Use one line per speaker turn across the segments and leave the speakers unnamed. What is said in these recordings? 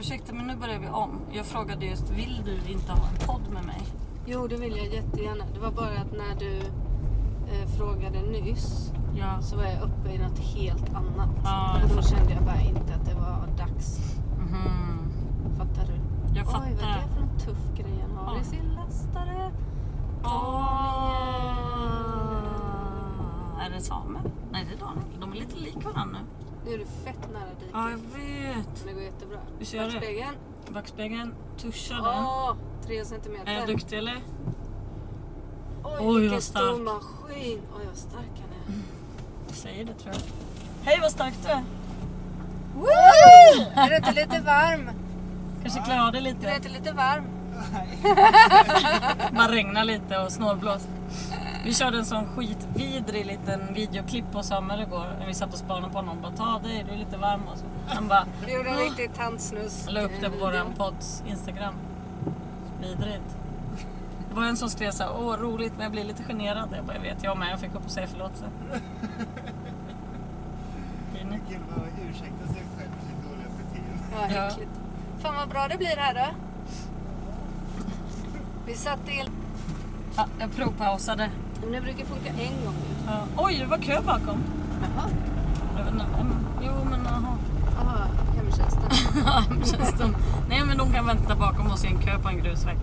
Ursäkta men nu börjar vi om. Jag frågade just, vill du inte ha en podd med mig?
Jo, det vill jag jättegärna. Det var bara att när du eh, frågade nyss
Ja.
så var jag uppe i något helt annat.
Ja, jag
och då
fattar.
kände jag bara inte att det var dags.
Mhm.
Fattar du?
Jag fattar.
Oj, vad är det för en tuff grej han har
Ja.
i sin lastare?
Åh. Är det samer? Nej det är Daniel. De är lite lika varandra nu.
Nu är du fett nära diket.
Ja jag vet.
Det går jättebra.
Vi kör det.
Backspegeln.
Backspegeln, tuscha den.
Åh, tre
Är
centimeter.
jag duktig eller?
Oj,
Oj,
vilken
vad
stor
stark. Mm.
maskin. Oj, vad stark han är.
Jag säger det tror jag. Hej vad stark du är.
Woo! Är du inte lite varm?
Kanske klär av dig
Är du
lite.
inte lite varm?
Bara regnar lite och snålblåst. Vi körde en sån skitvidrig liten videoklipp på Samuel igår. När vi satt och spanade på honom. Bara ta dig, du är lite varm och så. Han bara
Du gjorde en riktig tantsnuss.
la upp det på våran podds Instagram. Vidrigt. Det var en som skrev så här, åh roligt men jag blir lite generad. Jag bara, jag vet, jag med. Jag fick upp och säga förlåt sen. Pinigt.
Gud vad ursäkta sig själv för sitt dåliga beteende.
Ja,
Ja.
äckligt. Fan vad bra det blir här då. Vi satt i...
Ja, jag provpausade.
Men det brukar funka en gång nu.
Ja. Oj, det var kö bakom.
Jaha.
Jag vet inte, mm, Jo, men aha.
Jaha, hemtjänsten.
Hemtjänsten. Nej men de kan vänta bakom oss i en kö på en grusväg.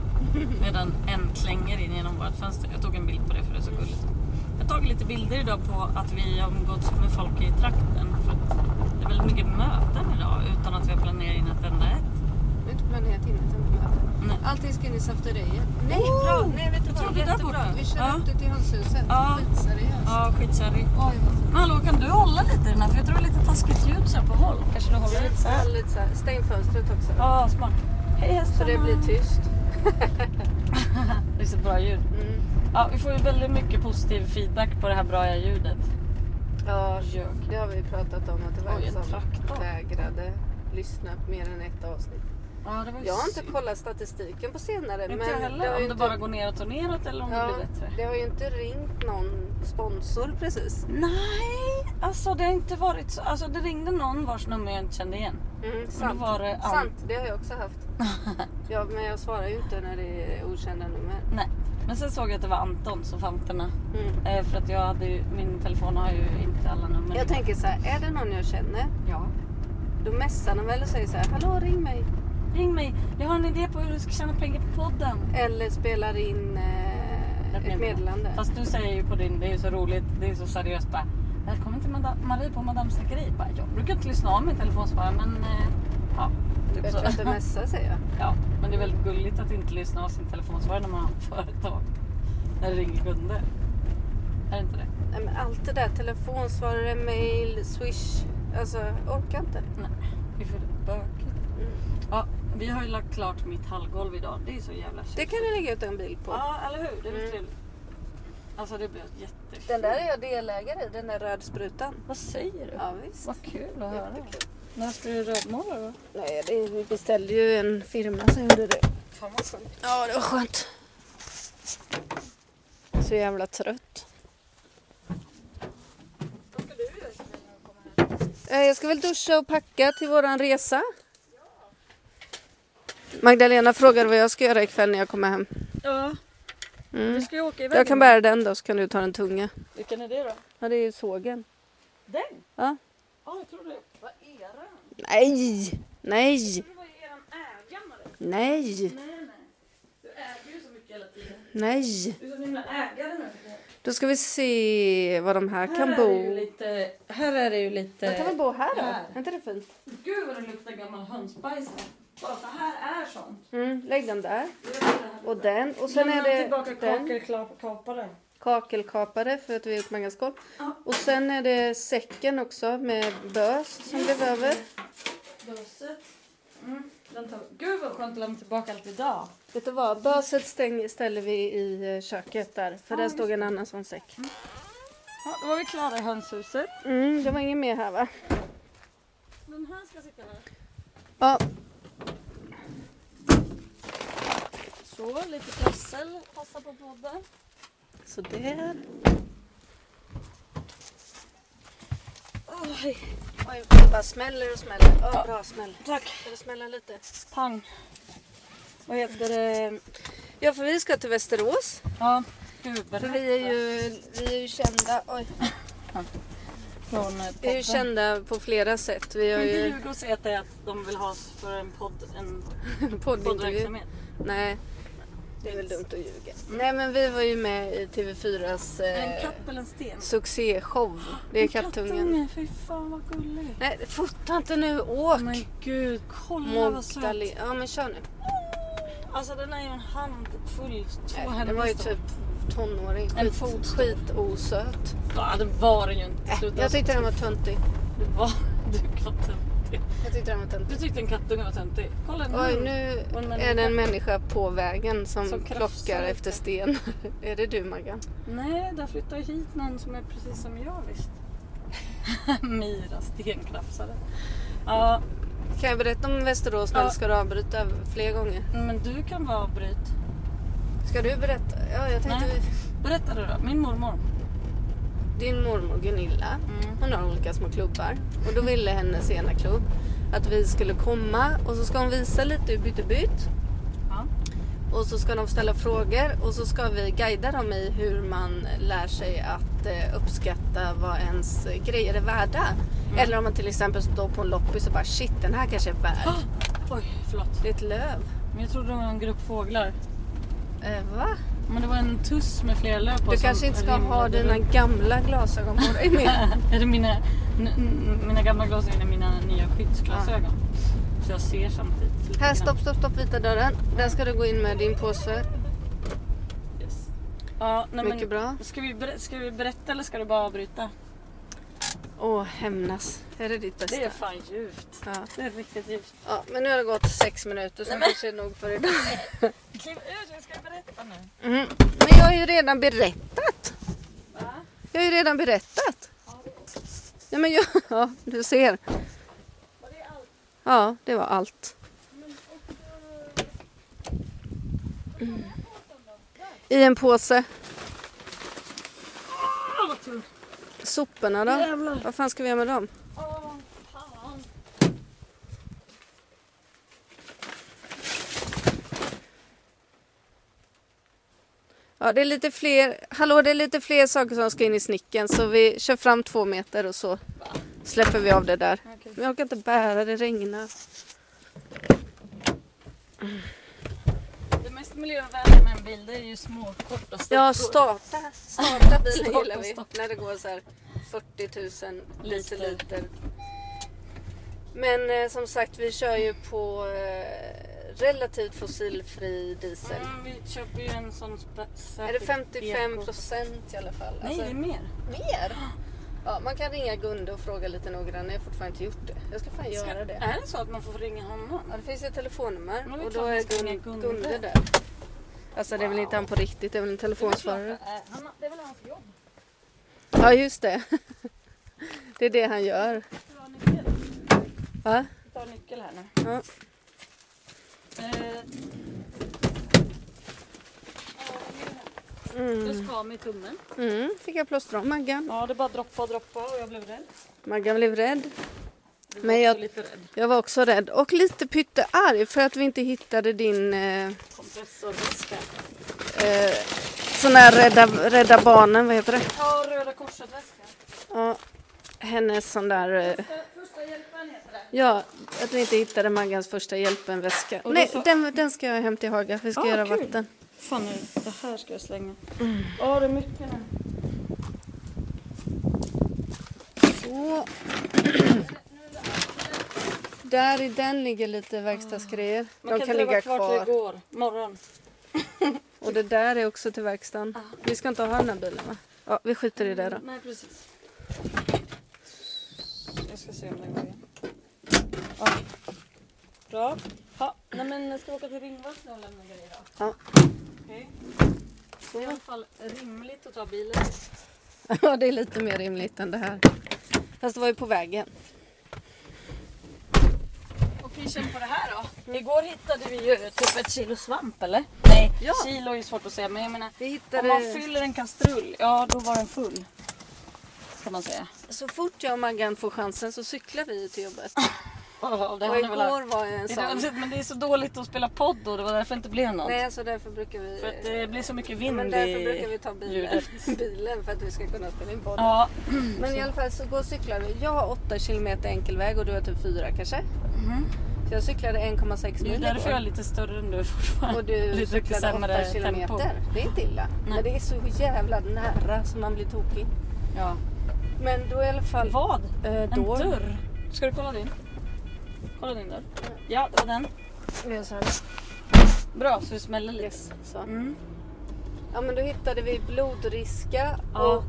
Medan en klänger in genom vårt fönster. Jag tog en bild på det för det är så gulligt. Jag har tagit lite bilder idag på att vi har umgåtts med folk i trakten. För att det är väldigt mycket möten idag utan att vi har planerat in ett enda ett.
Vi har inte planerat in ett hemtjänstmöte.
Nej.
Allting ska in i safteriet. Mm. Nej,
Oh!
bra! Nej, vet du
Jag
vad?
trodde där
Jättebra.
borta.
Vi kör
Ja.
upp det till hönshuset.
Ja.
Skitseriöst.
Ja, skitsorry.
Oj, vad fint.
Men hallå, kan du hålla lite i den här? För jag tror det är lite taskigt ljud så här på håll. Kanske du håller lite så här?
Lite så här. Stäng fönstret också.
Ja, smart. Hej hästarna!
Så det blir typ tyst.
Det är så bra ljud.
Mm.
Ja, vi får ju väldigt mycket positiv feedback på det här bra ljudet.
Ja,
Jök.
det har vi pratat om att det var
Oj,
en
en
som
traktor.
vägrade lyssna på mer än ett avsnitt.
Ja, det var ju
Jag har inte
synd.
kollat statistiken på senare.
Inte
men
jag heller.
har
Om
ju
det
inte-
bara går neråt och neråt eller om
ja,
det blir bättre.
Det har ju inte ringt någon sponsor precis.
Nej, alltså det har inte varit så. Alltså det ringde någon vars nummer jag inte kände igen.
Mm, sant.
var det allt.
sant, det har jag också haft. ja, men jag svarar ju inte när det är okända nummer.
Nej. Men sen såg jag att det var Antons och Fanterna.
Mm.
Eh, för att jag hade ju, min telefon har ju inte alla nummer.
Jag tänker så här, är det någon jag känner,
ja.
då messar de väl och säger så här, hallå ring mig.
Ring mig, jag har en idé på hur du ska tjäna pengar på podden.
Eller spelar in eh, ett meddelande.
Fast du säger ju på din, det är ju så roligt, det är så seriöst bara. Välkommen till Mada- Marie på Madame Zackari. Bara, Jag brukar inte lyssna av min telefon så bara, men eh, ja. Typ så.
Bättre att du messar säger jag.
Ja, men det är väldigt gulligt att inte lyssna av sin telefonsvarare när man har företag. När det ringer kunder. Är det inte det?
Nej, men allt det där, telefonsvarare, mail, swish. Alltså, jag orkar inte.
Nej, det är för bökigt. Ja, vi har ju lagt klart mitt hallgolv idag. Det är så jävla tjusigt.
Det kan du lägga ut en bild på.
Ja, eller hur? Det blir
Mm.
trevligt. Alltså det blir jättefint.
Den där är jag delägare i, den där rödsprutan.
Vad säger du?
Ja, visst.
Vad kul att höra.
Jättekul.
När ska du rödmåla då?
Nej, det, vi beställde ju en firma som gjorde det.
Fan vad skönt.
Ja, det var skönt. Så jävla trött. Eh, Jag ska väl duscha och packa till våran resa. Magdalena frågade vad jag ska göra ikväll när jag kommer hem.
Ja,
Mm.
du ska ju åka iväg.
Jag kan
nu.
bära den då så kan du ta den tunga.
Vilken är det då?
Ja det är ju sågen.
Den?
Ja.
Ja, jag tror det. Vad är den?
Nej! Nej!
Det var ju eran ägare.
Nej!
Nej, nej. Du äger ju så mycket hela tiden.
Nej!
Du är som himla ägare nu.
Då ska vi se vad de här kan
Är det ju
bo.
lite, här är det ju
De kan väl
lite...
bo här då?
Här.
Är inte det fint?
Gud vad det luktar gammal hönsbajs här. Bara så här är sånt.
Mm, lägg den där.
Det är det här.
Och den. Och sen är
Lämna tillbaka
det den.
kakelkapare.
Kakelkapare för att vi har gjort många skål.
Ja.
Och sen är det säcken också med bös som blev över.
Böset. Mm. Den tar... Gud vad skönt att lämna tillbaka allt idag.
Vet du vad? Böset stäng, ställer vi i eh, köket där. För
Ja,
där
just
stod en annan sån säck.
Ja, då var vi klara i hönshuset.
Mm, det var inget mer här va?
Den här ska sitta där.
Ja,
Så, lite prassel. Passa på podden.
så där.
Oj.
Oj, det bara smäller och smäller. Åh,
Ja.
bra smäll.
Tack.
Ska det smälla lite?
Pang. Vad heter det?
Ja, för vi ska till Västerås.
Ja, gud
För vi är ju, vi är ju kända. Oj.
från
Vi är ju
podden. Mm.
kända på flera sätt. Vi har
Kan inte
ju
Djurgårds äta att de vill ha oss för en podd, en
poddintervju.
poddverksamhet?
Nej, det är väl dumt att ljuga. Nej, men vi var ju med i TV4s
En
eh,
katt eller en sten?
succéshow. Det är Kattungen.
Kattungen, fy fan vad gullig.
Nej, fota inte nu. Åk!
Men gud, kolla vad söt.
Mogdalena. Ja, men kör nu.
Alltså den är ju en hand full. Två
Nej, det var ju
händer
typ tonåring.
En
Skit,
fot.
skitosöt.
Ja, det var den ju inte.
Äh,
Sluta.
jag tyckte den var töntig.
Du var... Du var töntig.
Jag tyckte den var
Du
töntig.
tyckte en kattunge var töntig. Kolla nu.
Oj, nu
Mm. Och en
är det en människa på vägen som,
Som krafsar
klockar
lite.
efter sten. är det du Maggan?
Nej, där flyttar hit någon som är precis som jag visst. Mira stenkrafsare. Ja,
Kan jag berätta om Västerås nu
Ja.
eller ska du avbryta fler gånger?
men du kan vara avbryt.
Ska du berätta? Ja, jag tänkte
Nej. Berätta du då. Min mormor.
Din mormor Gunilla,
Mm.
hon har olika små klubbar. Och då ville hennes ena klubb att vi skulle komma och så ska hon visa lite hur bytt är bytt.
Ja.
Och så ska de ställa frågor och så ska vi guida dem i hur man lär sig att eh, uppskatta vad ens grejer är värda.
Mm.
Eller om man till exempel står på en loppis och bara shit den här kanske är värd.
Oj, förlåt.
Det är ett löv.
Men jag trodde det var en grupp fåglar.
Eh, va?
Men det var en tuss med flera löv på
Du
som
kanske inte ska
ringlade
ha dina
runt.
gamla glasögon på dig mer.
Är det mina, n- n- mina gamla glasögon är mina nya skyddsglasögon. Så jag ser samtidigt. lite
Här,
grann.
stopp, stopp, stopp, vita dörren. Där ska du gå in med din påse.
Yes. Ja, nej,
Mycket
men,
bra.
Ska vi, ber- ska vi berätta eller ska du bara avbryta?
Åh, hämnas. Är det ditt bästa?
Det är fan djupt.
Ja.
Det är riktigt djupt.
ja, men nu har det gått sex minuter så kanske det är nog för idag.
Kliv ut, jag ska berätta nu.
Mm. Men jag har ju redan berättat.
Va?
Jag har ju redan berättat. Ja, men jag... Ja, du
Var
ser.
det allt?
Ja, det var allt. I en påse.
Åh, vad tungt.
Soporna då?
Jävlar.
Vad fan ska vi göra med dem?
Åh, fan.
Ja, det är lite fler, hallå, det är lite fler saker som ska in i snicken så vi kör fram två meter och så släpper vi av det där.
Okej.
Men jag orkar inte bära, det regnar.
Det mest miljövänliga med en bil det är ju små korta sträckor.
Ja, starta, starta bilen
Starta,
gillar vi.
starta.
När det går så här 40 000
Liter.
deciliter. Men eh, som sagt, vi kör ju på eh, relativt fossilfri diesel.
Mm, vi köper ju en sån spe-
Är
särskild
det 55
eko-
procent i alla fall? Alltså,
Nej, det är mer.
Mer? Ja, man kan ringa Gunde och fråga lite noggrannare. Jag har fortfarande inte gjort det. Jag ska fan
Ska-
göra det.
Är det så att man får ringa honom?
Ja, det finns ett telefonnummer
Men det är
och då
klart man
är
ska ringa
Gun-
Gunde.
Gunde där. Alltså det är väl inte han på riktigt, det är väl en telefonsvarare.
Det är klart, eh, han- Det är väl hans jobb?
Ja, just det. Det är det han gör.
Du har nyckel.
Va?
Vi tar nyckel här nu.
Ja.
Eh,
Mm.
Jag ska med tummen.
Mm. Fick jag plåstra om Maggan.
Ja, det bara droppa och droppa och jag blev rädd.
Maggan blev rädd.
Du
Men
var
jag-
också lite rädd.
Jag var också rädd och lite pyttearg för att vi inte hittade din eh,
Kompressorväska.
eh, sån här rädda, rädda barnen, vad heter det?
Ja, Röda korset-väska.
Ja, hennes sån där... Eh,
Första- Första hjälpen heter det.
Ja, att vi inte hittade Maggans första hjälpen-väska.
Och då
Nej,
så-
den, den ska jag hem till Haga. Vi ska
Ah,
göra
kul.
vatten.
Fan, nu, det här ska jag slänga. Ja, det är mycket nu.
Så. Där i den ligger lite verkstadsgrejer.
Man kan,
De kan
inte
ligga
ligga kvar till
kvar.
igår morgon.
Och det där är också till verkstaden. Vi ska inte ha den här bilen va? Ja, vi skiter i det då.
Nej, precis. Jag ska se om den går igen. Ja. Bra. Ha. Nej, men ska vi åka till Ringvattnet och lämna grejer då?
Ja.
Okej. Det är i alla
Så.
fall rimligt att ta bilen.
Ja, det är lite mer rimligt än det här. Fast det var ju på vägen.
Och pitchen på det här då?
Mm.
Igår hittade vi ju typ ett kilo svamp eller? Nej,
Ja.
kilo är ju svårt att säga men jag menar
Vi
om
hittade...
man fyller en kastrull, ja då var den full. Kan man säga.
Så fort jag och Maggan får chansen så cyklar vi till jobbet.
Oh, det
Och
har ni väl
igår
hört.
var jag en
Det är
sån.
dåligt, men det är så dåligt att spela podd och det var därför det inte blev något.
Nej, så därför brukar vi...
För att det blir så mycket
Ja,
vind
Men därför
i
brukar vi ta bilen,
ljudet.
bilen för att vi ska kunna spela in podden.
Ja,
Men i alla fall så går och cyklar vi. Jag har 8 kilometer enkel väg och du har typ 4 kanske. Så jag cyklade 1,6
det är
mil
därför jag är
igår.
lite större än du fortfarande.
Och du
lite
cyklade 8
sämre
kilometer.
tempo.
Det är inte illa. Men det är så jävla nära så man blir tokig.
Ja.
Men då i alla fall...
Vad?
Eh,
En
då-
dörr? Ska du kolla din? Kolla din dörr. Ja, det var den.
Jag sa det.
Bra, så det smäller lite.
Yes, så.
Mm.
Ja men då hittade vi blodriska
Ja.
och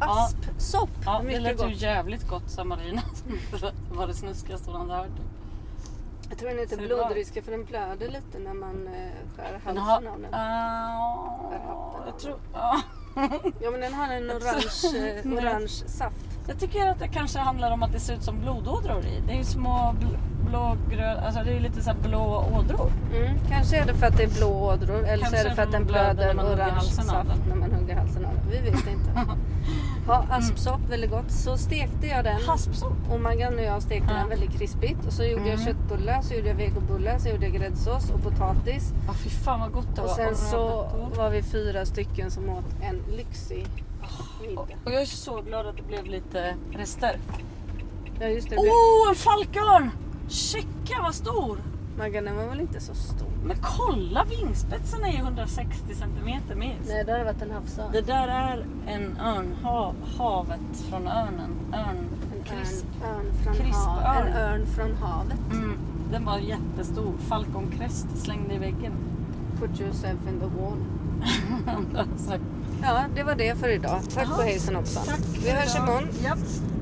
Ja.
aspsopp.
Ja, det
Mycket
lät ju
gott.
jävligt gott sa Marina. det var det snuskigaste hon hade hört.
Jag tror den heter
Ser det bra ut?
blodriska för den blöder lite när man eh, skär
Den
halsen
har...
av den.
Ah, jag tror... ah.
Ja men den har en orange, eh,
Nej.
orange saft.
Jag tycker att det kanske handlar om att det ser ut som blodådror i. Det är ju små bl- blågröna, alltså det är ju lite så här blå ådror.
Mm. Kanske är det för att det är blå ådror eller
Kanske
så är det för att den
blöder när
blöder
man hugger
orange
halsen av
saft
den.
när man hugger halsen av den. Vi vet inte.
Mm.
Ja, aspsopp, väldigt gott. Så stekte jag den.
Haspsopp.
Och Maggan och jag stekte den väldigt krispigt. Och så gjorde
Mm.
jag köttbullar, så gjorde jag vegobullar, så gjorde jag gräddsås och potatis.
Ja fy fan vad gott det
Och
var.
sen så
Och-
var vi fyra stycken som åt en lyxig middag.
Och jag är så glad att det blev lite rester.
Ja just det, oh!
Oh, en falkörn! Checka vad stor!
Maggan den var väl inte så stor?
Men kolla vingspetsen är ju 160 centimeter minst.
Nej, det hade varit en havsörn.
Det där är en örn, ha, havet från örnen. Örn,
En
krisp.
Örn, örn från
Krisp
hav,
örn.
en örn från havet.
Mm, den var jättestor. Falkonkräst slängd i väggen.
Put yourself in the wall.
Alltså,
Ja, det var det för idag. Tack
Jaha.
och hejsan hoppsan.
Tack
Vi hörs
för idag.
imorgon.
Japp.